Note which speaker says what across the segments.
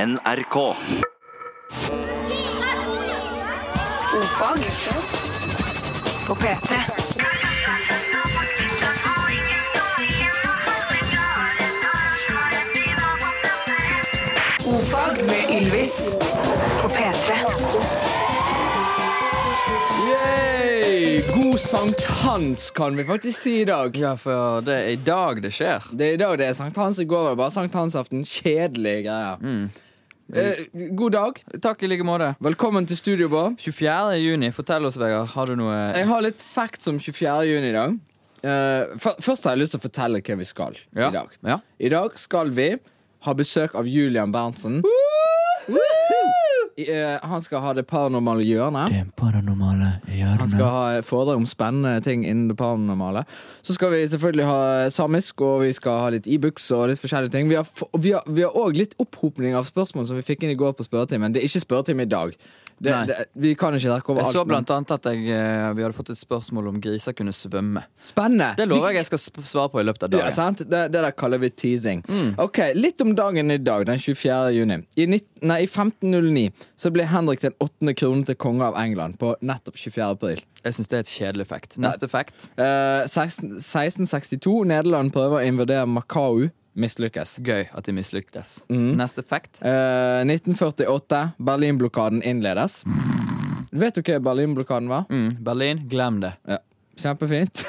Speaker 1: NRK.
Speaker 2: Ofag på P3. Ofag med Ylvis på P3.
Speaker 3: Yay! God sankthans, kan vi faktisk si i dag.
Speaker 4: Ja, for det er i dag det skjer.
Speaker 3: Det er i dag det er sankthans. I går var det bare sankthansaften. Kjedelige greier. Eh, god dag.
Speaker 4: Mm. Takk i like måte.
Speaker 3: Velkommen til studio, Bård.
Speaker 4: 24. juni, fortell oss, Vegard. Har du noe
Speaker 3: Jeg har litt facts om 24. juni i dag. Eh, fø- først har jeg lyst til å fortelle hva vi skal
Speaker 4: Ja.
Speaker 3: i dag.
Speaker 4: Ja.
Speaker 3: I dag skal vi ha besøk av Julian Berntsen. I- eh, han skal ha det paranormale hjørnet.
Speaker 4: Det paranormale
Speaker 3: Han skal ha foredrag om spennende ting innen det paranormale. Så skal vi selvfølgelig ha eh, samisk, og vi skal ha litt e-books og litt forskjellige ting. Vi har, f- vi har, vi har også litt opphopning av spørsmål som vi fikk inn i går på spørretimen. Det er ikke spørretime i dag. Det,
Speaker 4: Nei.
Speaker 3: det, vi kan ikke rekke over
Speaker 4: Jeg
Speaker 3: alt.
Speaker 4: så
Speaker 3: men-
Speaker 4: blant annet at jeg, eh, vi hadde fått et spørsmål om griser kunne svømme.
Speaker 3: Spennende!
Speaker 4: Det lover jeg jeg skal sp- svare på i løpet av
Speaker 3: Ja,
Speaker 4: dagen.
Speaker 3: sant? Det, det der kaller vi teasing.
Speaker 4: Mm.
Speaker 3: Ok, Litt om dagen i dag, den 24. juni. I, nitt- nei, I 1509 så ble Henrik den åttende kronet til konge av England på nettopp 24. april.
Speaker 4: Jeg syns det er et kjedelig fact. Neste fact.
Speaker 3: Eh, 16, 1662 Nederland prøver å invadere Macau. Mislykkes.
Speaker 4: Gøy at de mislyktes. Neste fact.
Speaker 3: Eh, 1948 Berlinblokaden innledes. Vet du hva Berlinblokaden var?
Speaker 4: Mm. Berlin, glem det.
Speaker 3: Ja. Kjempefint.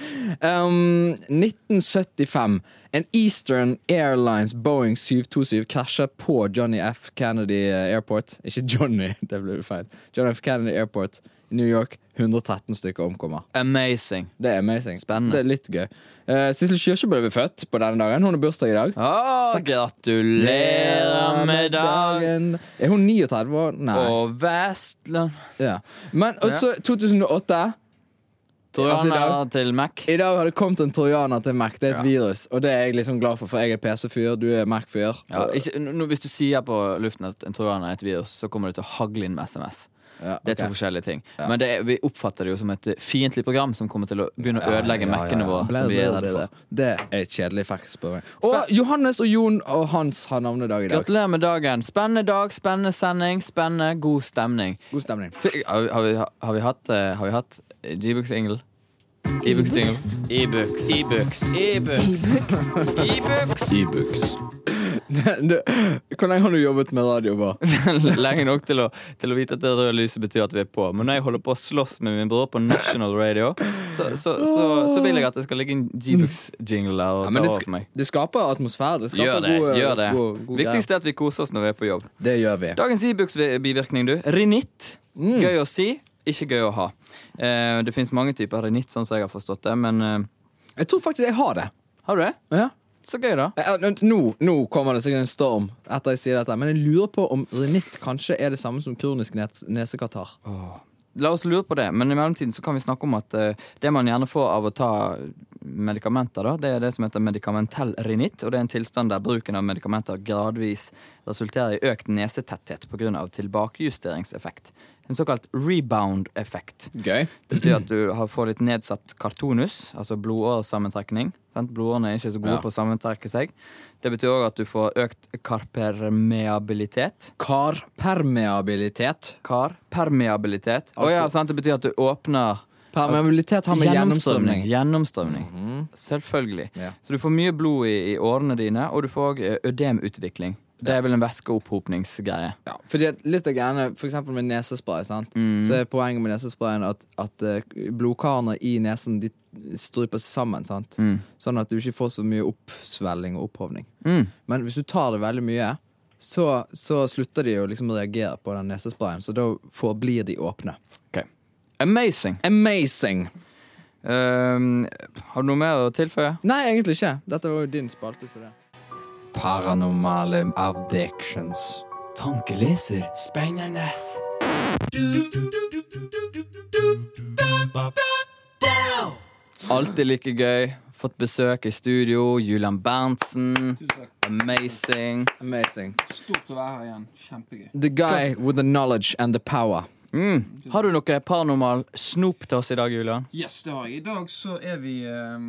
Speaker 3: um, 1975. En Eastern Airlines Boeing 727 krasjer på Johnny F. Kennedy Airport. Ikke Johnny, det ble feil. John F. Kennedy Airport i New York. 113 stykker omkommer.
Speaker 4: Amazing.
Speaker 3: Det er amazing.
Speaker 4: Spennende.
Speaker 3: Det er litt gøy. Eh, Sissel Kyrkjebø ble født på denne dagen. Hun har bursdag i dag.
Speaker 4: Å,
Speaker 3: Seks-
Speaker 4: gratulerer med dagen
Speaker 3: Er hun 39 år? Nei.
Speaker 4: og Vestland.
Speaker 3: Ja. Men også 2008. Altså, i dag-
Speaker 4: Trojaner til Mac.
Speaker 3: I dag har det kommet en trojaner til Mac. Det er et
Speaker 4: Ja.
Speaker 3: virus. Og det er jeg liksom glad for, for jeg er PC-fyr, du er Mac-fyr.
Speaker 4: Ja, ikke, n- nå, hvis du sier på luften at en trojaner er et virus, så kommer det til å hagle inn med SMS.
Speaker 3: Ja,
Speaker 4: Det er to
Speaker 3: ok.
Speaker 4: forskjellige ting. Men det er, vi oppfatter det jo som et eh, fiendtlig program som kommer til å begynne å
Speaker 3: Ja,
Speaker 4: ødelegge
Speaker 3: ja,
Speaker 4: Mac-ene
Speaker 3: ja.
Speaker 4: våre.
Speaker 3: Blæ,
Speaker 4: Som vi
Speaker 3: blæ,
Speaker 4: er redde
Speaker 3: blæ,
Speaker 4: for.
Speaker 3: blæ. Det er et kjedelig fact, spør jeg. Og Johannes og Jon og Hans har navnedag i dag.
Speaker 4: Gratulerer med dagen. Spennende dag, spennende sending, spennende, god stemning.
Speaker 3: God stemning.
Speaker 4: Fy- Har vi, har vi, har vi hatt, eh, har vi hatt G-Books Ingle? E-books Dingle. E-books. E-books. E-books.
Speaker 3: E-books. Du, Hvor lenge har du jobbet med radio? Bare?
Speaker 4: Lenge nok til å, til å vite at det røde lyset betyr at vi er på. Men når jeg holder på å slåss med min bror på national radio, så, så, så, så vil jeg at det skal ligge en G-Books-jingle der og
Speaker 3: Ja, men det,
Speaker 4: ta over for
Speaker 3: sk
Speaker 4: meg.
Speaker 3: det skaper atmosfære. Det skaper
Speaker 4: Gjør det.
Speaker 3: gode-
Speaker 4: gjør det
Speaker 3: gode- gode
Speaker 4: Viktigst er at vi koser oss når vi er på jobb.
Speaker 3: greier. Det gjør vi.
Speaker 4: Dagens Ibux-bivirkning, du. Rinitt. Gøy å si, ikke gøy å ha. Eh, det fins mange typer rinitt, sånn som jeg har forstått det, men eh,
Speaker 3: Jeg tror faktisk jeg har det.
Speaker 4: Har du det?
Speaker 3: Ja.
Speaker 4: Så gøy, da.
Speaker 3: Eh, vent, Nå, nå kommer det sikkert en storm etter jeg sier dette, men jeg lurer på om renitt kanskje er det samme som kronisk nes nesekatarr.
Speaker 4: La oss lure på det, men i mellomtiden så kan vi snakke om at eh, det man gjerne får av å ta medikamenter, da, det er det som heter medikamentell rinitt, og det er en tilstand der bruken av medikamenter gradvis resulterer i økt nesetetthet pga. tilbakejusteringseffekt. En såkalt rebound-effekt.
Speaker 3: Gøy.
Speaker 4: Det betyr at du har- får litt nedsatt kartonus, altså blodåresammentrekning. Sant? Blodårene er ikke så gode
Speaker 3: Ja.
Speaker 4: på å sammentrekke seg. Det betyr òg at du får økt karpermeabilitet.
Speaker 3: Karpermeabilitet.
Speaker 4: Kar. Permeabilitet. Å ja,
Speaker 3: Altså-
Speaker 4: sant? Det betyr at du åpner
Speaker 3: Permeabilitet har med gjennomstrømning. Mhm.
Speaker 4: Gjennomstrømning. Selvfølgelig.
Speaker 3: Ja.
Speaker 4: Så du får mye blod i, i årene dine, og du får òg ødemutvikling. Det er vel en væskeopphopningsgreie.
Speaker 3: Ja, fordi at litt av greiene, For eksempel med nesespray. sant? Så er Poenget med nesesprayen at, at eh, blodkarene i nesen de stryper seg sammen. sant? Sånn at du ikke får så mye oppsvelling og opphovning. Men hvis du tar det veldig mye, så, så slutter de jo liksom å reagere på den nesesprayen. Så da forblir de åpne.
Speaker 4: Amazing!
Speaker 3: Amazing!
Speaker 4: Ehm, har du noe mer å tilføye?
Speaker 3: Nei, egentlig ikke. Dette var jo din spalte. så det. Paranormale addictions.
Speaker 4: Tankeleser. Spennende. Alltid like gøy. Fått besøk i studio. Julian Berntsen. Amazing.
Speaker 3: Amazing.
Speaker 5: Stort å være her igjen. Kjempegøy.
Speaker 3: The guy with the knowledge and the power.
Speaker 4: Har du noe paranormal snop til oss i dag, Julian?
Speaker 5: Yes, det har jeg. I dag så er vi ehm,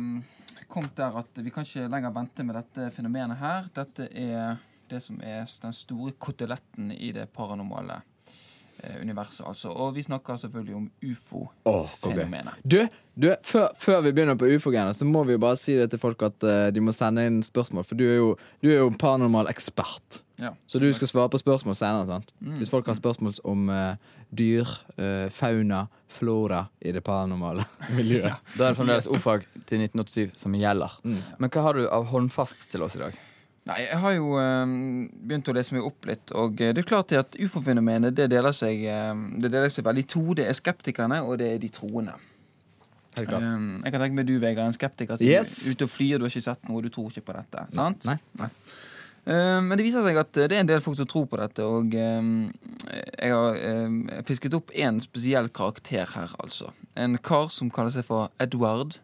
Speaker 5: eh, kommet der at vi kan ikke lenger vente med dette fenomenet her. Dette er det som er s- den store koteletten i det paranormale eh, universet, altså. Og vi snakker selvfølgelig om ufo-fenomenet.
Speaker 3: Du, du før, før vi begynner på ufo-greiene, så må vi jo bare si det til folk at eh, de må sende inn spørsmål, for du er jo, du er jo paranormal ekspert.
Speaker 5: Ja.
Speaker 3: Så du skal svare på spørsmål senere. sant?
Speaker 4: Mm.
Speaker 3: Hvis folk har spørsmål om eh, dyr, eh, fauna, flora i det paranormale miljøet.
Speaker 4: Da er det fremdeles ordfag til 1987 som gjelder.
Speaker 5: Mm.
Speaker 4: Men hva har du av håndfast til oss i dag?
Speaker 5: Nei, jeg har jo eh, begynt å lese meg opp litt, og eh, det er klart det at ufo-fenomenet det deler, seg, eh, det deler seg veldig i to. Det er skeptikerne, og det er de troende.
Speaker 3: Helt klart.
Speaker 5: Um, jeg kan tenke meg du, Vegard, en skeptiker som
Speaker 3: Yes.
Speaker 5: er ute og flyr, du har ikke sett noe, du tror ikke på dette. sant?
Speaker 3: Nei.
Speaker 5: Um, men det viser seg at det er en del folk som tror på dette, og um, jeg har um, fisket opp én spesiell karakter her, altså. En kar som kaller seg for Edward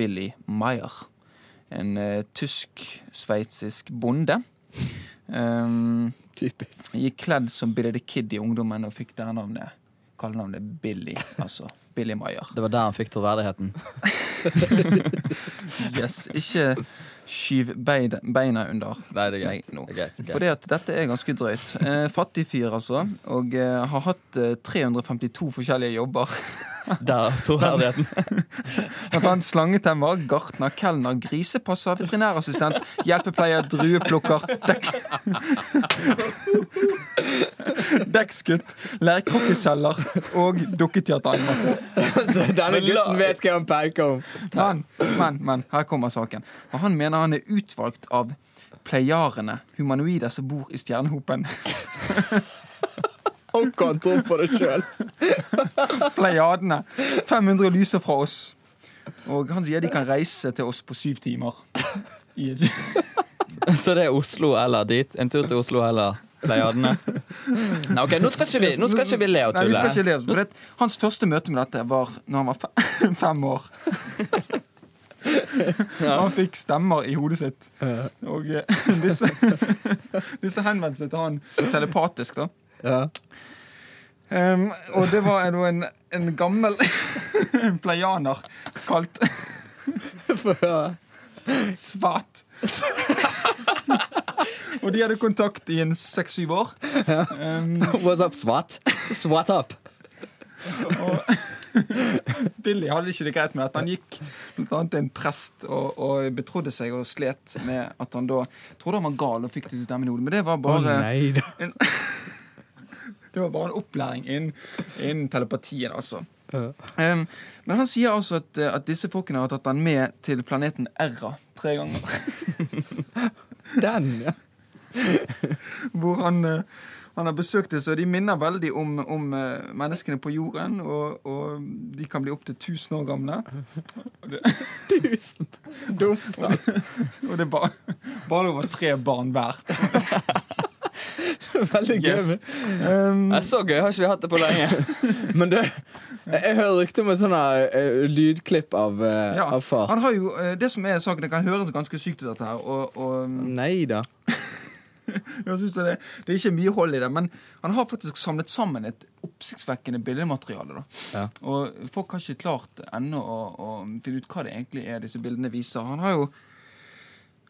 Speaker 5: Billy Meyer. En eh, tysk-sveitsisk bonde. Um,
Speaker 3: Typisk.
Speaker 5: gikk kledd som Billy the Kid i ungdommen og fikk det her navnet. Kallenavnet Billy, altså. Billy Meyer.
Speaker 4: Det var der han fikk troverdigheten.
Speaker 5: Yes, ikke skyv beid- beina under.
Speaker 4: Nei, det er greit.
Speaker 5: meg nå.
Speaker 4: Det er greit, det er greit.
Speaker 5: Fordi at dette er ganske drøyt. Eh, fattig fyr, altså. Og eh, har hatt eh, 352 forskjellige jobber.
Speaker 4: Der troverdigheten.
Speaker 5: Blant annet slangetemmer, gartner, kelner, grisepasser, veterinærassistent, hjelpepleier, drueplukker, dekk... Dekkskutt, lærkrokkeselger og dukketeateranimatør.
Speaker 3: Så denne gutten vet hva han peker om.
Speaker 5: Men, men, men, her kommer saken. Og han mener han er utvalgt av pleiarene, humanoider som bor i stjernehopen.
Speaker 3: Og han tror på det sjøl.
Speaker 5: Pleiadene. 500 lyser fra oss. Og han sier de kan reise til oss på syv timer. I et-
Speaker 4: Så det er Oslo eller dit. En tur til Oslo eller Pleiadene. Nei, ok, nå skal ikke vi, nå skal ikke vi le og
Speaker 5: Nei, vi skal ikke
Speaker 4: tulle.
Speaker 5: le oss, for det, Hans første møte med dette var når han var fe- fem år. Han fikk stemmer i hodet sitt. Og eh, disse, disse henvendte seg til han telepatisk, da.
Speaker 3: Ja.
Speaker 5: Ehm, og det var da en, en gammel pleianer kalt
Speaker 3: Få høre.
Speaker 5: Svært. og de hadde kontakt i en seks-syv år. Ehm,
Speaker 3: What's up, swat? Swat up.
Speaker 5: og Billy hadde ikke det greit med at han gikk blant annet til en prest og, og betrodde seg og slet med at han da trodde han var gal og fikk disse stemmene i hodet. Men det var bare
Speaker 3: da.
Speaker 5: en, Det var bare en opplæring innen, innen telepatien, altså. Ehm, men han sier altså at, eh, at disse folkene har tatt han med til planeten Erra tre ganger.
Speaker 3: Den, ja.
Speaker 5: Hvor han, eh, han har besøkt det, så de minner veldig om, om eh, menneskene på jorden. Og, og de kan bli opptil 1000 år gamle.
Speaker 3: Tusen. Dumt.
Speaker 5: Og det er bare, bare over tre barn hver.
Speaker 3: Veldig gøy.
Speaker 5: Yes.
Speaker 3: men-
Speaker 5: Ehm,
Speaker 4: Nei, Så gøy har ikke vi hatt det på lenge.
Speaker 3: Men du, jeg, jeg hører rykter om et sånt her, eh, lydklipp av, eh,
Speaker 5: ja,
Speaker 3: av far.
Speaker 5: han har jo, eh, det som er saken, det kan høres ganske sykt ut, dette her. Og, og mm,
Speaker 3: Nei da.
Speaker 5: jeg synes det, er- det er ikke mye hold i det, men han har faktisk samlet sammen et oppsiktsvekkende billedmateriale. da.
Speaker 3: Ja.
Speaker 5: Og folk har ikke klart ennå å, å finne ut hva det egentlig er disse bildene viser. Han har jo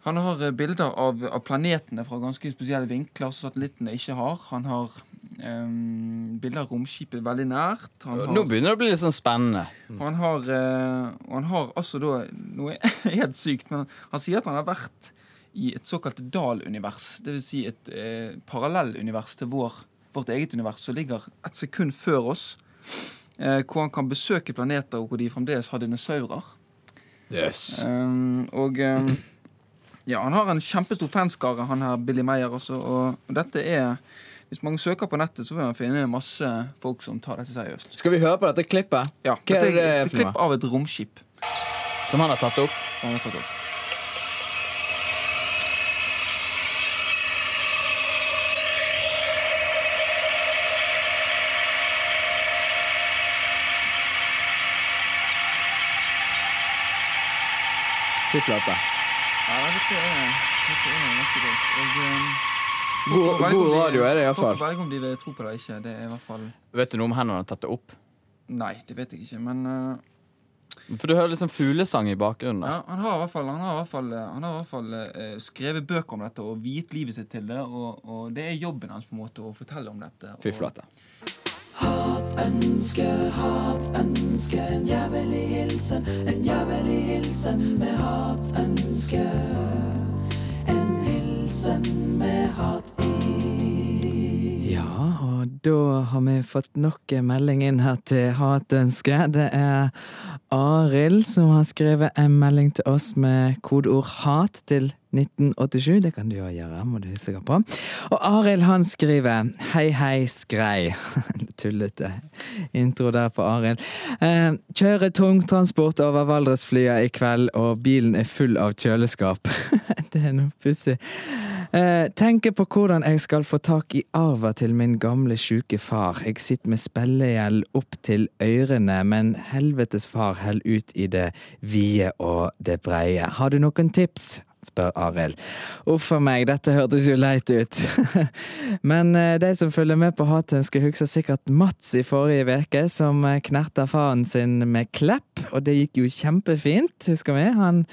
Speaker 5: han har eh, bilder av, av planetene fra ganske spesielle vinkler som satellittene ikke har. Han har eh, bilder av romskipet veldig nært. Han har,
Speaker 4: Nå begynner det å bli litt sånn spennende.
Speaker 5: og han har, eh, og han har altså da noe helt sykt, men han sier at han har vært i et såkalt Dal-univers. Dvs. Si et eh, parallellunivers til vår, vårt eget univers, som ligger et sekund før oss. Eh, hvor han kan besøke planeter hvor de fremdeles har dinosaurer.
Speaker 3: Yes.
Speaker 5: Um, og um, ja, han har en kjempestor fanskare, han her Billy Meyer også. Og, og dette er Hvis man søker på nettet, så vil man finne masse folk som tar dette seriøst.
Speaker 3: Skal vi høre på dette klippet?
Speaker 5: Ja,
Speaker 3: Hva er
Speaker 5: dette
Speaker 3: det
Speaker 5: et
Speaker 3: for noe?
Speaker 5: klipp av et romskip.
Speaker 4: Som han har tatt opp.
Speaker 5: Han har tatt opp.
Speaker 3: Fy flate.
Speaker 5: Ja, dette er, dette er eh, ganske drøyt. Og um,
Speaker 3: God,
Speaker 5: folk får velge
Speaker 3: god
Speaker 5: om de-
Speaker 3: radio er det
Speaker 5: folk får
Speaker 3: iallfall.
Speaker 5: velge om de vil tro på det eller ikke. Det er i hvert fall
Speaker 4: Vet du noe om hvor han har tatt det opp?
Speaker 5: Nei, det vet jeg ikke, men uh,
Speaker 4: For du hører liksom fuglesang i bakgrunnen. da.
Speaker 5: Ja, han har i hvert fall, han har i hvert fall, eh, han har i hvert fall eh, skrevet bøker om dette og viet livet sitt til det. Og, og det er jobben hans på en måte å fortelle om dette.
Speaker 3: Fy
Speaker 5: og-
Speaker 3: flate. Ja, og da har vi fått nok en melding inn her til Hatønske. Det er Arild som har skrevet en melding til oss med kodeord 'hat' til 1987. Det kan du òg gjøre, må du huske på. Og Arild han skriver 'Hei, hei, skrei'. Litt Tullete intro der på Arild. Eh, Kjører tungtransport over Valdresflya i kveld, og bilen er full av kjøleskap. Det er noe pussig. Eh, tenker på hvordan jeg skal få tak i arva til min gamle sjuke far. Jeg sitter med spellegjeld opp til ørene, men helvetes far hell ut i det vide og det breie. Har du noen tips? spør Arild. Uff a meg, dette hørtes jo leit ut. men eh, de som følger med på Hatønske, husker sikkert Mats i forrige uke, som eh, knerta faren sin med klepp, og det gikk jo kjempefint, husker vi. Han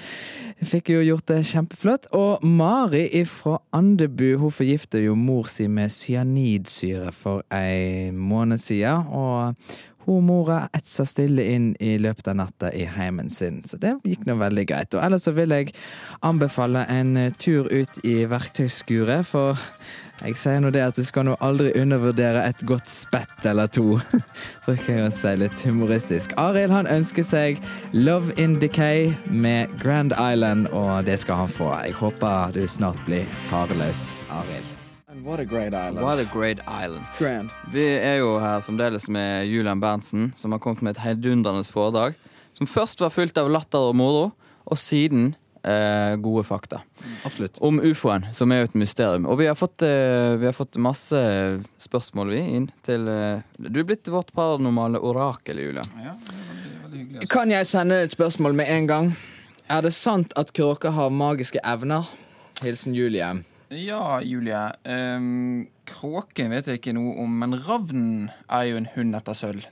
Speaker 3: fikk jo gjort det kjempeflott. Og Mari fra Andebu hun forgifter jo mor si med cyanidsyre for ei måned siden. Og hun mora etsa stille inn i løpet av natta i heimen sin, så det gikk nå veldig greit. Og ellers så vil jeg anbefale en eh, tur ut i verktøyskuret, for jeg sier nå det at du skal nå aldri undervurdere et godt spett eller to. For jeg kan jo si litt humoristisk. Arild han ønsker seg Love in Decay med Grand Island, og det skal han få. Jeg håper du snart blir farløs, Arild. And what a great island.
Speaker 4: What a great island.
Speaker 3: Grand.
Speaker 4: Vi er jo her fremdeles med Julian Berntsen, som har kommet med et heidundrende foredrag. Som først var fylt av latter og moro, og siden eh, gode fakta.
Speaker 3: Absolutt.
Speaker 4: Om ufoen, som er jo et mysterium. Og vi har fått, eh, vi har fått masse spørsmål vi inn til eh, Du er blitt vårt paranormale orakel, Julian.
Speaker 5: Ja, det er veldig, veldig hyggelig. altså.
Speaker 3: Kan jeg sende et spørsmål med en gang? Er det sant at kråker har magiske evner? Hilsen Julie.
Speaker 5: Ja, Julie. ehm, kråken vet jeg ikke noe om, men ravnen er jo en hund etter sølv.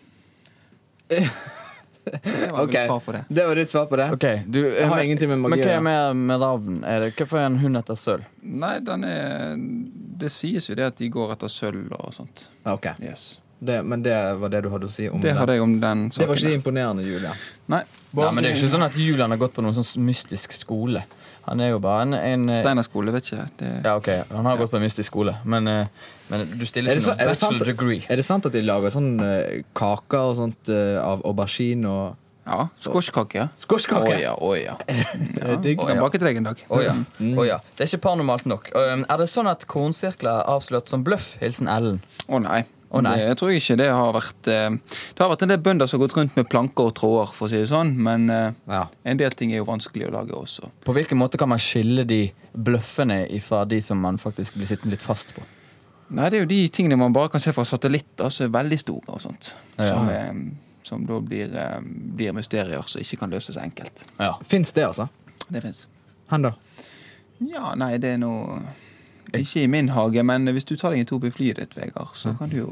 Speaker 5: Det var vel
Speaker 3: Ok.
Speaker 5: svar på det.
Speaker 3: Det var ditt svar på det.
Speaker 4: Ok, du, eh,
Speaker 3: Jeg har ingenting med magi
Speaker 4: Men
Speaker 3: å
Speaker 4: hva er
Speaker 3: gjøre.
Speaker 4: mer med ravn? Er det, hvorfor er en hund etter sølv?
Speaker 5: Nei, den er Det sies jo det at de går etter sølv og sånt.
Speaker 3: Ok,
Speaker 5: Yes.
Speaker 3: det, Men det var det du hadde å si om
Speaker 5: Det hadde jeg om den saken.
Speaker 3: Det var ikke imponerende, Julie.
Speaker 5: der. Nei.
Speaker 4: Nei, men Det er ikke sånn at Julian har gått på noen sånn mystisk skole. Han er jo bare en, en eh,
Speaker 5: Steinar skole, vet ikke. Det...
Speaker 4: Ja, ok, Han har gått på en mystisk skole, men, eh, men du
Speaker 3: Er
Speaker 4: stiller
Speaker 3: det,
Speaker 4: som
Speaker 3: så,
Speaker 4: en
Speaker 3: er, det sant,
Speaker 4: bachelor degree.
Speaker 3: er det sant at de lager sånn eh, kaker og sånt eh, av aubergine og
Speaker 5: Ja, Squashkake.
Speaker 3: Squashkake?
Speaker 5: Å ja, å ja.
Speaker 3: er digg.
Speaker 5: Jeg har baket vegg en dag. Mm.
Speaker 4: Å ja. å ja. Det er ikke paranormalt nok. Um, er det sånn at kornsirkler er avslørt som bløff? Hilsen Ellen.
Speaker 5: Å nei.
Speaker 4: Å nei.
Speaker 5: Det, jeg tror ikke det har vært eh, Det har vært en del bønder som har gått rundt med planker og tråder, for å si det sånn, men eh,
Speaker 3: Ja.
Speaker 5: en del ting er jo vanskelig å lage også.
Speaker 4: På hvilken måte kan man skille de bløffene fra de som man faktisk blir sittende litt fast på?
Speaker 5: Nei, det er jo de tingene man bare kan se fra satellitter som er veldig store og sånt.
Speaker 4: Ja.
Speaker 5: Som, eh, som da blir, eh, blir mysterier som ikke kan løses enkelt.
Speaker 4: Ja.
Speaker 3: Fins det, altså?
Speaker 5: Det fins.
Speaker 3: Han, da?
Speaker 5: Ja, nei, det er noe Ikke i min hage, men hvis du tar deg en tur på flyet ditt, Vegard, så kan du jo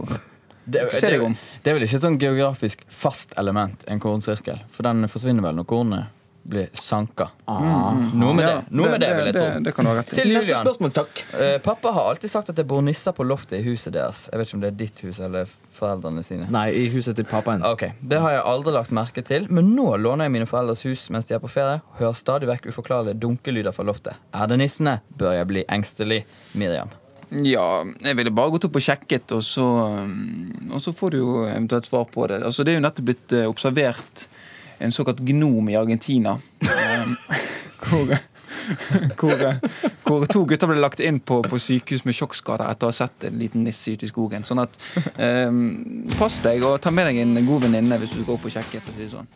Speaker 4: Det,
Speaker 5: Se deg
Speaker 4: det,
Speaker 5: om.
Speaker 4: det er vel ikke et sånn geografisk fast element, en kornsirkel? For den forsvinner vel når kornet blir sanka. Mm. Noe med det, noe med det, vil jeg
Speaker 5: det,
Speaker 4: tro.
Speaker 5: det, det kan du ha rett i.
Speaker 4: Til
Speaker 3: Neste
Speaker 4: Julian.
Speaker 3: spørsmål, takk.
Speaker 4: Eh, pappa har alltid sagt at det bor nisser på loftet i huset deres. Jeg vet ikke om det er ditt hus eller foreldrene sine.
Speaker 3: Nei, i huset til pappaen.
Speaker 4: Ok, Det har jeg aldri lagt merke til, men nå låner jeg mine foreldres hus mens de er på ferie. og Hører stadig vekk uforklarlige dunkelyder fra loftet. Er det nissene? Bør jeg bli engstelig? Miriam.
Speaker 5: Ja, jeg ville bare gått opp og sjekket, og så, um, og så får du jo eventuelt svar på det. Altså, det er jo nettopp blitt eh, observert en såkalt gnom i Argentina. Um, hvor, hvor, hvor to gutter ble lagt inn på, på sykehus med sjokkskader etter å ha sett en liten nisse ute i skogen. Sånn at um, pass deg, og ta med deg en god venninne hvis du går opp og sjekker. For å si det sånn.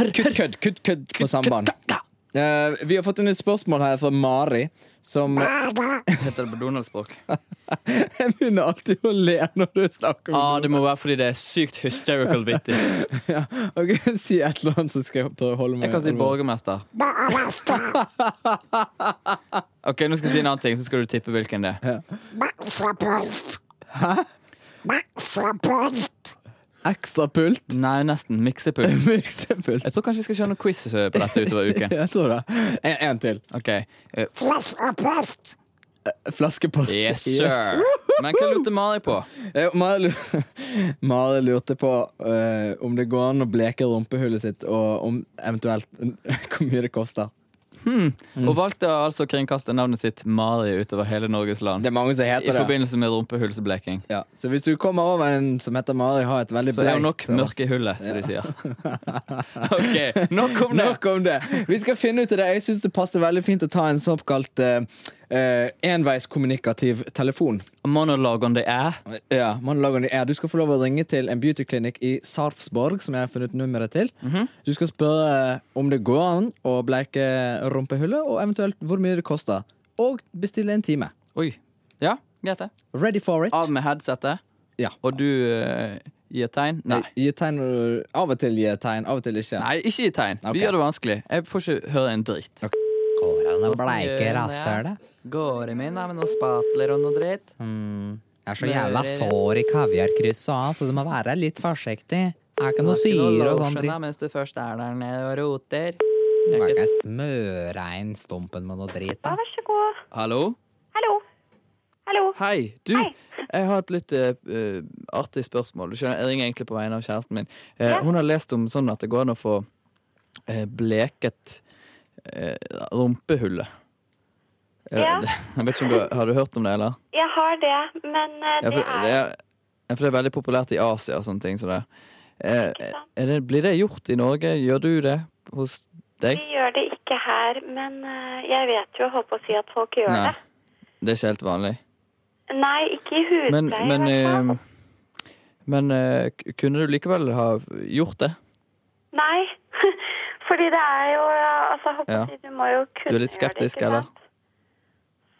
Speaker 3: Kutt, kødd, kutt, kødd på samband. Eh, vi har fått inn et spørsmål her fra Mari, som eh,
Speaker 4: Heter det på Donald-språk?
Speaker 3: Jeg begynner alltid å le når du snakker om
Speaker 4: Ah,
Speaker 1: det må være fordi det er sykt hysterical vittig.
Speaker 3: ja. Ok, Si et eller annet, så skal jeg prøve å holde meg
Speaker 4: Ah. Jeg kan si borgermester. Ok, Nå skal jeg si en annen ting, så skal du tippe hvilken det er.
Speaker 3: Ekstra pult.
Speaker 4: Nei, nesten. Miksepult.
Speaker 3: Miksepult.
Speaker 4: Jeg tror kanskje vi skal kjøre noen quiz eh, på dette utover uken.
Speaker 3: Jeg tror det. En, en til.
Speaker 4: Ok. Eh,
Speaker 3: Flaskepost! Flaskepost.
Speaker 4: Yes, sir. Men hva lurte Mari på?
Speaker 3: Eh, Mari lu- Mari lurte på eh, om det går an å bleke rumpehullet sitt, og om eventuelt hvor mye det koster. Mm.
Speaker 4: Og valgte altså å kringkaste navnet sitt Mari utover hele Norges land.
Speaker 3: Det er mange som
Speaker 4: I
Speaker 3: heter det.
Speaker 4: forbindelse med rumpehullsbleking.
Speaker 3: Ja. Så hvis du kommer over en som heter Mari, har et veldig
Speaker 4: Så er hun nok
Speaker 3: bleikt
Speaker 4: mørk i hullet, som de sier. Ok, nok om det.
Speaker 3: Nok om det. Vi skal finne ut av det. Jeg syns det passer veldig fint å ta en såkalt eh, eh, enveiskommunikativ telefon.
Speaker 4: Monolog on the air.
Speaker 3: Ja, Mandagen er Du skal få lov å ringe til en beautyklinikk i Sarpsborg, som jeg har funnet nummeret til. Du skal spørre eh, om det går an å bleike rumpehullet, og eventuelt hvor mye det koster. Og bestille en time.
Speaker 4: Oi. Ja, greit det.
Speaker 3: Ready for it.
Speaker 4: Av med headsetet,
Speaker 3: ja.
Speaker 4: og du eh, gir tegn? Nei.
Speaker 3: Gi tegn når du- Av og til gi tegn, av og til ikke.
Speaker 4: Nei, ikke gi tegn.
Speaker 3: Ok.
Speaker 4: Vi gjør det vanskelig. Jeg får ikke høre en dritt.
Speaker 3: Går an å
Speaker 4: bleike rasshølet? Går i min navn og spatler og noe dritt?
Speaker 3: Jeg
Speaker 4: er så jævla sår
Speaker 3: i kaviarkrysset òg, så du må være litt forsiktig. Er ikke
Speaker 4: mens du først er der nede og roter.
Speaker 3: Kan ikke smøre inn stumpen med noe drit, da?
Speaker 6: Vær så god.
Speaker 4: Hallo?
Speaker 6: Hallo. Hallo.
Speaker 4: Hei, du. Jeg har et litt eh, eh, artig spørsmål. Du skjønner, Jeg ringer egentlig på vegne av kjæresten min. Eh, Hun har lest om sånn at det går an å få eh, bleket eh, rumpehullet. Eh,
Speaker 6: Ja.
Speaker 4: Jeg vet ikke om du har, har du hørt om det, eller?
Speaker 6: Jeg har det, men eh,
Speaker 4: Ja, for
Speaker 6: det er
Speaker 4: det er, ja, for det er veldig populært i Asia og sånne ting. Så det. Eh, er det, blir det gjort i Norge? Gjør du det hos deg?
Speaker 6: Vi gjør det ikke her, men eh, jeg vet jo, jeg holdt på å si at folk gjør
Speaker 4: Nei. Det er ikke helt vanlig.
Speaker 6: det. Nei, ikke i hudpleie.
Speaker 4: Men,
Speaker 6: i
Speaker 4: men,
Speaker 6: hvert fall.
Speaker 4: eh, men eh, k- kunne du likevel ha gjort det?
Speaker 6: Nei, fordi det er jo ja, Altså, jeg holdt på
Speaker 4: Ja.
Speaker 6: å si, du må jo kunne
Speaker 4: Du er litt skeptisk,
Speaker 6: gjøre det,
Speaker 4: eller?
Speaker 6: ikke sant?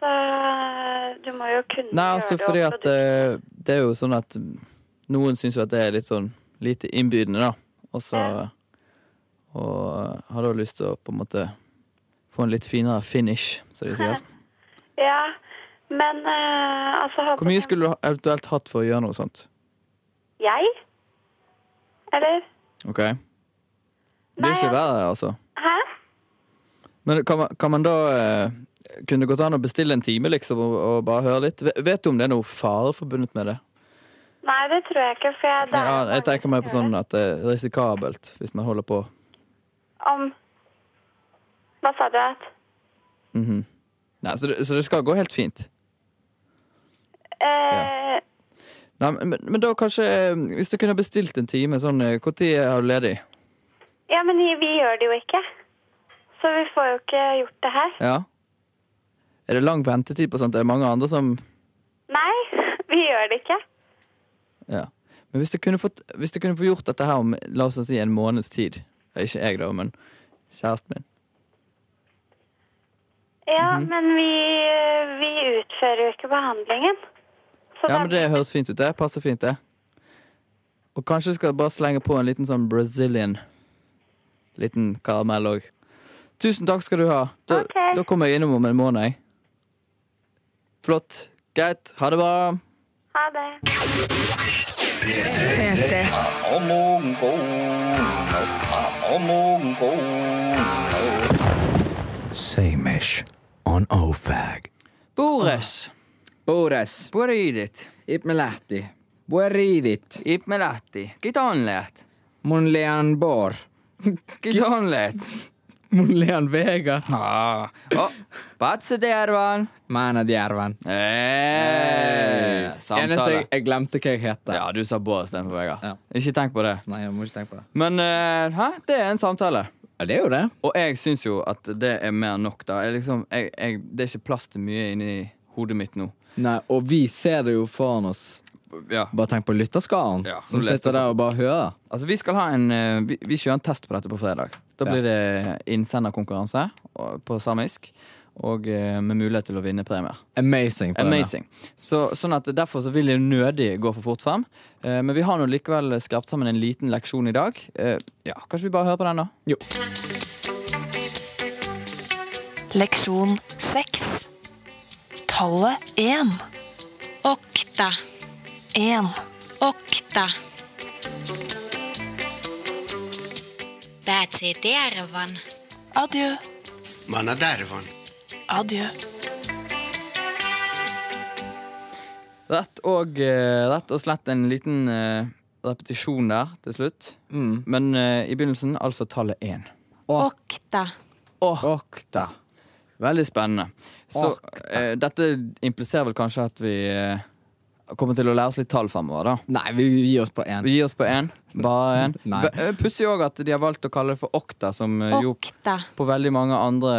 Speaker 6: Så eh, du må jo kunne
Speaker 4: Nei, altså
Speaker 6: gjøre
Speaker 4: fordi
Speaker 6: det. også,
Speaker 4: at eh, det er jo sånn at noen syns jo at det er litt sånn lite innbydende, da. Og så Og eh, har da lyst til å på en måte få en litt finere finish, som de sier.
Speaker 6: du, Ja, men eh, altså jeg
Speaker 4: Hvor
Speaker 6: holdt på å
Speaker 4: mye
Speaker 6: si-
Speaker 4: skulle du ha- eventuelt hatt for å gjøre noe sånt?
Speaker 6: Jeg? Eller?
Speaker 4: OK? Det
Speaker 6: Nei,
Speaker 4: er ikke verre, altså.
Speaker 6: Hæ?
Speaker 4: Men kan man, kan man da eh, Kunne det gått an å bestille en time, liksom, og, og bare høre litt? Ve- Vet du om det er noe fare forbundet med det?
Speaker 6: Nei, det tror jeg ikke, for jeg, det er
Speaker 4: Ja,
Speaker 6: jo
Speaker 4: jeg
Speaker 6: mange
Speaker 4: tenker
Speaker 6: som
Speaker 4: meg på
Speaker 6: gjør det.
Speaker 4: sånn at det er risikabelt hvis man holder på.
Speaker 6: Om Hva sa du at?
Speaker 4: Nei, så, det, så det skal gå helt fint.
Speaker 6: Eh,
Speaker 4: Nei, men, men da kanskje eh, Hvis du kunne bestilt en time sånn Når er du ledig?
Speaker 6: ja. men vi, vi gjør det jo ikke. Så vi får jo ikke gjort det her.
Speaker 4: Ja? Er det lang ventetid på sånt? Er det mange andre som
Speaker 6: Nei, vi gjør det ikke.
Speaker 4: Ja. Men hvis du kunne fått, hvis du kunne få gjort dette her om la oss si en måneds tid Ikke jeg, da, men kjæresten min.
Speaker 6: Ja,
Speaker 4: Mhm.
Speaker 6: men vi, vi utfører jo ikke behandlingen. Så
Speaker 4: Ja,
Speaker 6: da-
Speaker 4: men Det høres fint ut. det Passer fint, det. Og kanskje du skal bare slenge på en liten sånn Brazilian. Liten karamell òg. Tusen takk skal du ha. Da,
Speaker 6: Ok.
Speaker 4: da kommer jeg innom om en måned. jeg. Flott. Greit. Ha det bra.
Speaker 6: Ha det.
Speaker 2: P3.
Speaker 3: Samish on OFAG.
Speaker 4: Bores.
Speaker 3: Bores.
Speaker 4: Boridit.
Speaker 3: Ipmelahti. Bueridit.
Speaker 4: Ipmelati. Gitanlet.
Speaker 3: Monlean Bor.
Speaker 4: Gitanlet.
Speaker 3: Monlean Vega.
Speaker 4: Ah. Oh. Batsedjervan.
Speaker 3: Manadjerven.
Speaker 4: Hey.
Speaker 3: Eh, Eneste
Speaker 4: Eh, Samtale.
Speaker 3: jeg, jeg glemte hva jeg heter.
Speaker 4: Ja, du sa Bård istedenfor Vegard.
Speaker 3: Ja.
Speaker 4: Ikke tenk på det.
Speaker 3: Nei, jeg må ikke tenke på det.
Speaker 4: Men eh, hæ? det er en samtale.
Speaker 3: Ja, det er jo det.
Speaker 4: Og jeg syns jo at det er mer enn nok, da. Jeg, liksom, jeg, jeg, det er ikke plass til mye inni hodet mitt nå.
Speaker 3: Nei, og vi ser det jo foran oss.
Speaker 4: Ja.
Speaker 3: Bare tenk på lytterskaren
Speaker 4: Ja, som
Speaker 3: som
Speaker 4: leste
Speaker 3: sitter der og bare hører.
Speaker 4: Altså, vi skal ha en eh, vi, vi kjører en test på dette på fredag. Da blir det innsenderkonkurranse og- på samisk. Og eh, med mulighet til å vinne premier.
Speaker 3: Amazing. på
Speaker 4: Amazing. Så, sånn at Derfor så vil jeg nødig gå for fort frem. Eh, men vi har nå likevel skrapt sammen en liten leksjon i dag. Eh, ja, Kanskje vi bare hører på den, da?
Speaker 7: Leksjon 6 Tallet 1
Speaker 8: Åkta,
Speaker 7: 1
Speaker 8: åkta, Derevan.
Speaker 7: Adjø.
Speaker 9: Manadervan.
Speaker 7: Adjø.
Speaker 4: Rett og, eh, rett og slett en liten eh, repetisjon der til slutt. Men eh, i begynnelsen altså tallet én.
Speaker 8: Okta.
Speaker 3: Okta.
Speaker 4: Veldig spennende. Så eh, dette impliserer vel kanskje at vi eh, kommer til å lære oss litt tall fremover, da.
Speaker 3: Nei, vi gir oss på én.
Speaker 4: Vi gir oss på én. Bare én.
Speaker 3: Nei.
Speaker 4: Ve- eh, Pussig òg at de har valgt å kalle det for okta, som eh, jo
Speaker 8: Okta.
Speaker 4: på veldig mange andre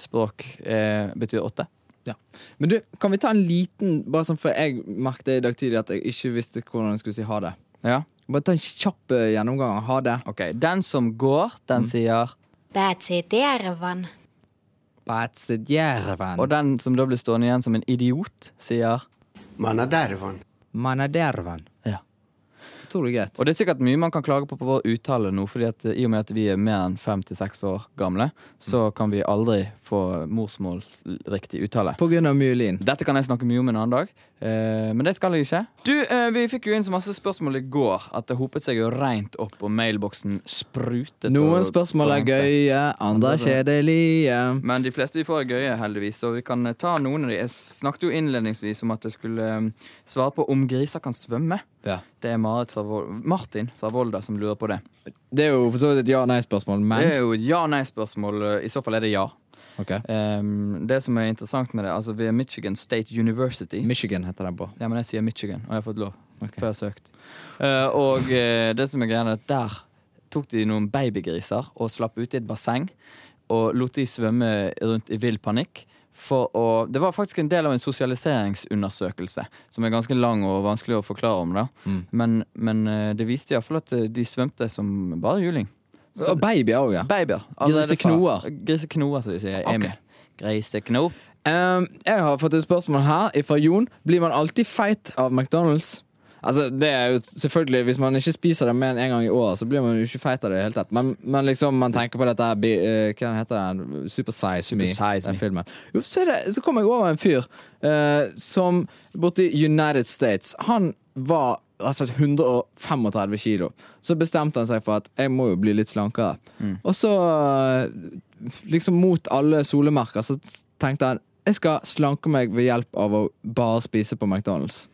Speaker 4: språk eh, betyr åtte.
Speaker 3: Ja. Men du, kan vi ta en liten Bare sånn, for jeg merket i dag tidlig at jeg ikke visste hvordan jeg skulle si ha det.
Speaker 4: Ja.
Speaker 3: Bare ta en kjapp eh, gjennomgang av ha det.
Speaker 4: Ok, Den som går, den sier
Speaker 8: Bætsi Derevan.
Speaker 4: Og
Speaker 3: Batsedjerven.
Speaker 4: den som da blir stående igjen som en idiot, sier
Speaker 9: Manadervan.
Speaker 3: Manaderven.
Speaker 4: Ja.
Speaker 3: Utrolig greit.
Speaker 4: Og det er sikkert mye man kan klage på på vår uttale nå, fordi at eh, i og med at vi er mer enn fem til seks år gamle, så
Speaker 3: Mm.
Speaker 4: kan vi aldri få morsmålriktig uttale.
Speaker 3: På grunn av myelin.
Speaker 4: Dette kan jeg snakke mye om en annen dag, eh, men det skal jeg ikke. Du, eh, Vi fikk jo inn så masse spørsmål i går at det hopet seg jo rent opp, og mailboksen sprutet.
Speaker 3: Noen
Speaker 4: og
Speaker 3: spørsmål er
Speaker 4: brente.
Speaker 3: gøye, andre er
Speaker 4: Andre er-
Speaker 3: kjedelige.
Speaker 4: Men de fleste vi får er gøye, heldigvis. Så vi kan eh, ta noen av de. Jeg snakket jo innledningsvis om at jeg skulle eh, svare på om griser kan svømme.
Speaker 3: Ja.
Speaker 4: Det er Marit fra Vol Martin fra Volda som lurer på det.
Speaker 3: Det er jo for så vidt et ja-nei-spørsmål,
Speaker 4: Det
Speaker 3: men
Speaker 4: er jo et ja-nei-spørsmål. I så fall er det ja.
Speaker 3: Ok.
Speaker 4: Ehm, det som er interessant med det, altså ved Michigan State University
Speaker 3: Michigan heter den på.
Speaker 4: Ja, men jeg sier Michigan, og jeg har fått lov.
Speaker 3: Ok.
Speaker 4: Før jeg har søkt. Eh, og eh, det som er greia, er at der tok de noen babygriser og slapp ut i et basseng. Og lot de svømme rundt i vill panikk. For å, det var faktisk en del av en sosialiseringsundersøkelse, som er ganske lang og vanskelig å forklare om. da
Speaker 3: Mm.
Speaker 4: Men, men eh, det viste iallfall at eh, de svømte som bare juling.
Speaker 3: Og babyer òg, ja.
Speaker 4: Babyer. allerede fra-
Speaker 3: Griseknoer.
Speaker 4: Griseknoer, som de sier. Jeg er med. Grisekno.
Speaker 3: Ehm, jeg har fått et spørsmål her fra Jon. Blir man alltid feit av McDonald's? Altså, det er jo selvfølgelig Hvis man ikke spiser det mer enn én en gang i året, så blir man jo ikke feit av det. i det hele tatt Men, men liksom, man tenker på dette her bi- eh, Hva heter den? Super Size Me.
Speaker 4: Size
Speaker 3: den
Speaker 4: Me.
Speaker 3: filmen. Jo, så, er det, så kom jeg over en fyr eh, som borti United States Han var altså 135 kilo. Så bestemte han seg for at jeg må jo bli litt slankere.
Speaker 4: Mm.
Speaker 3: Og så eh, liksom mot alle solemerker så tenkte han jeg skal slanke meg ved hjelp av å bare spise på McDonald's.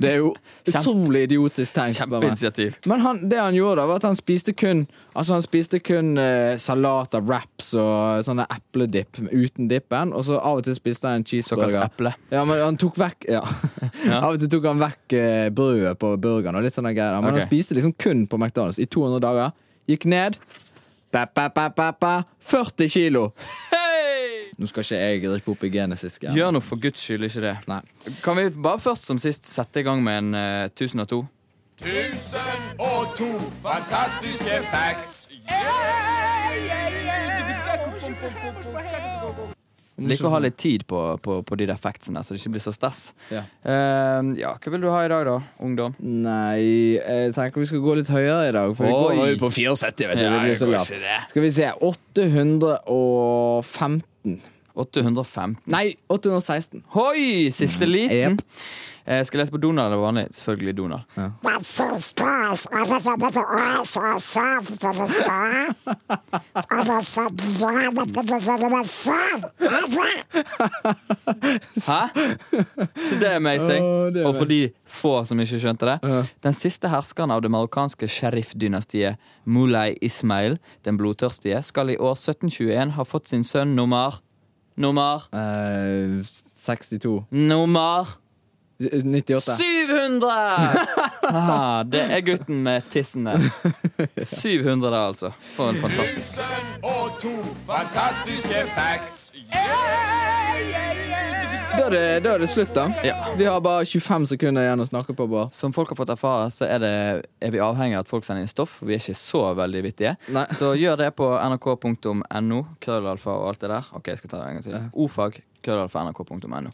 Speaker 3: Det er jo
Speaker 4: Kjempe-
Speaker 3: utrolig idiotisk tenkt. spør meg.
Speaker 4: Kjempeinitiativ.
Speaker 3: Men han, det han gjorde, da var at han spiste kun Altså han spiste kun eh, salat og wraps og sånne epledipp uten dippen. Og så av og til spiste han en cheeseburger.
Speaker 4: Såkalt eple.
Speaker 3: Ja, men han tok vekk ja. Av og til tok han vekk eh, brødet på burgeren. og litt sånne greier. Men
Speaker 4: Ok.
Speaker 3: han spiste liksom kun på McDonald's i 200 dager. Gikk ned. Ba, ba, ba, ba, ba, 40 kilo! Nå skal ikke jeg rippe opp i genesis. greiene.
Speaker 4: Gjør nå for guds skyld ikke det.
Speaker 3: Nei.
Speaker 4: Kan vi bare først som sist sette i gang med en eh, 1002?
Speaker 5: 1002 fantastiske facts.
Speaker 4: Liker å ha litt tid på, på, på de der factsene, så det ikke blir så stress.
Speaker 3: Ja.
Speaker 4: Eh, ja, hva vil du ha i dag, da, ungdom?
Speaker 3: Nei, jeg tenker vi skal gå litt høyere i dag. For vi
Speaker 4: Oi.
Speaker 3: går jo på 74, vet du. det blir så lavt. Skal vi se. 815
Speaker 4: 815.
Speaker 3: Nei, 816.
Speaker 4: Hoi! Siste liten.
Speaker 3: Mm. Jep.
Speaker 4: Eh, Jeg skal lese på Donald eller vanlig. Selvfølgelig Donald. Hæ? Så det er amazing.
Speaker 3: Å, det er
Speaker 4: Og for de få som ikke skjønte det. Den siste herskeren av det marokkanske sheriffdynastiet Mulay Ismail den blodtørstige skal i år 1721 ha fått sin sønn nummer Nummer
Speaker 3: Eh, 62.
Speaker 4: Nummer
Speaker 3: 98.
Speaker 4: 700! Ah, det er gutten med tissene. 700 der, altså. For en fantastisk
Speaker 5: 1002 fantastiske facts.
Speaker 3: Da er, det, da er det slutt, da. Vi har bare 25 sekunder igjen å snakke på, Bård.
Speaker 4: Som folk har fått erfare, så er, det, er vi avhengig av at folk sender inn stoff. Vi er ikke så veldig vittige.
Speaker 3: Nei.
Speaker 4: Så gjør det på nrk.no, krøllalfa og alt det der. Ok, jeg skal ta det en gang til. Ofag, krøllalfa, nrk.no.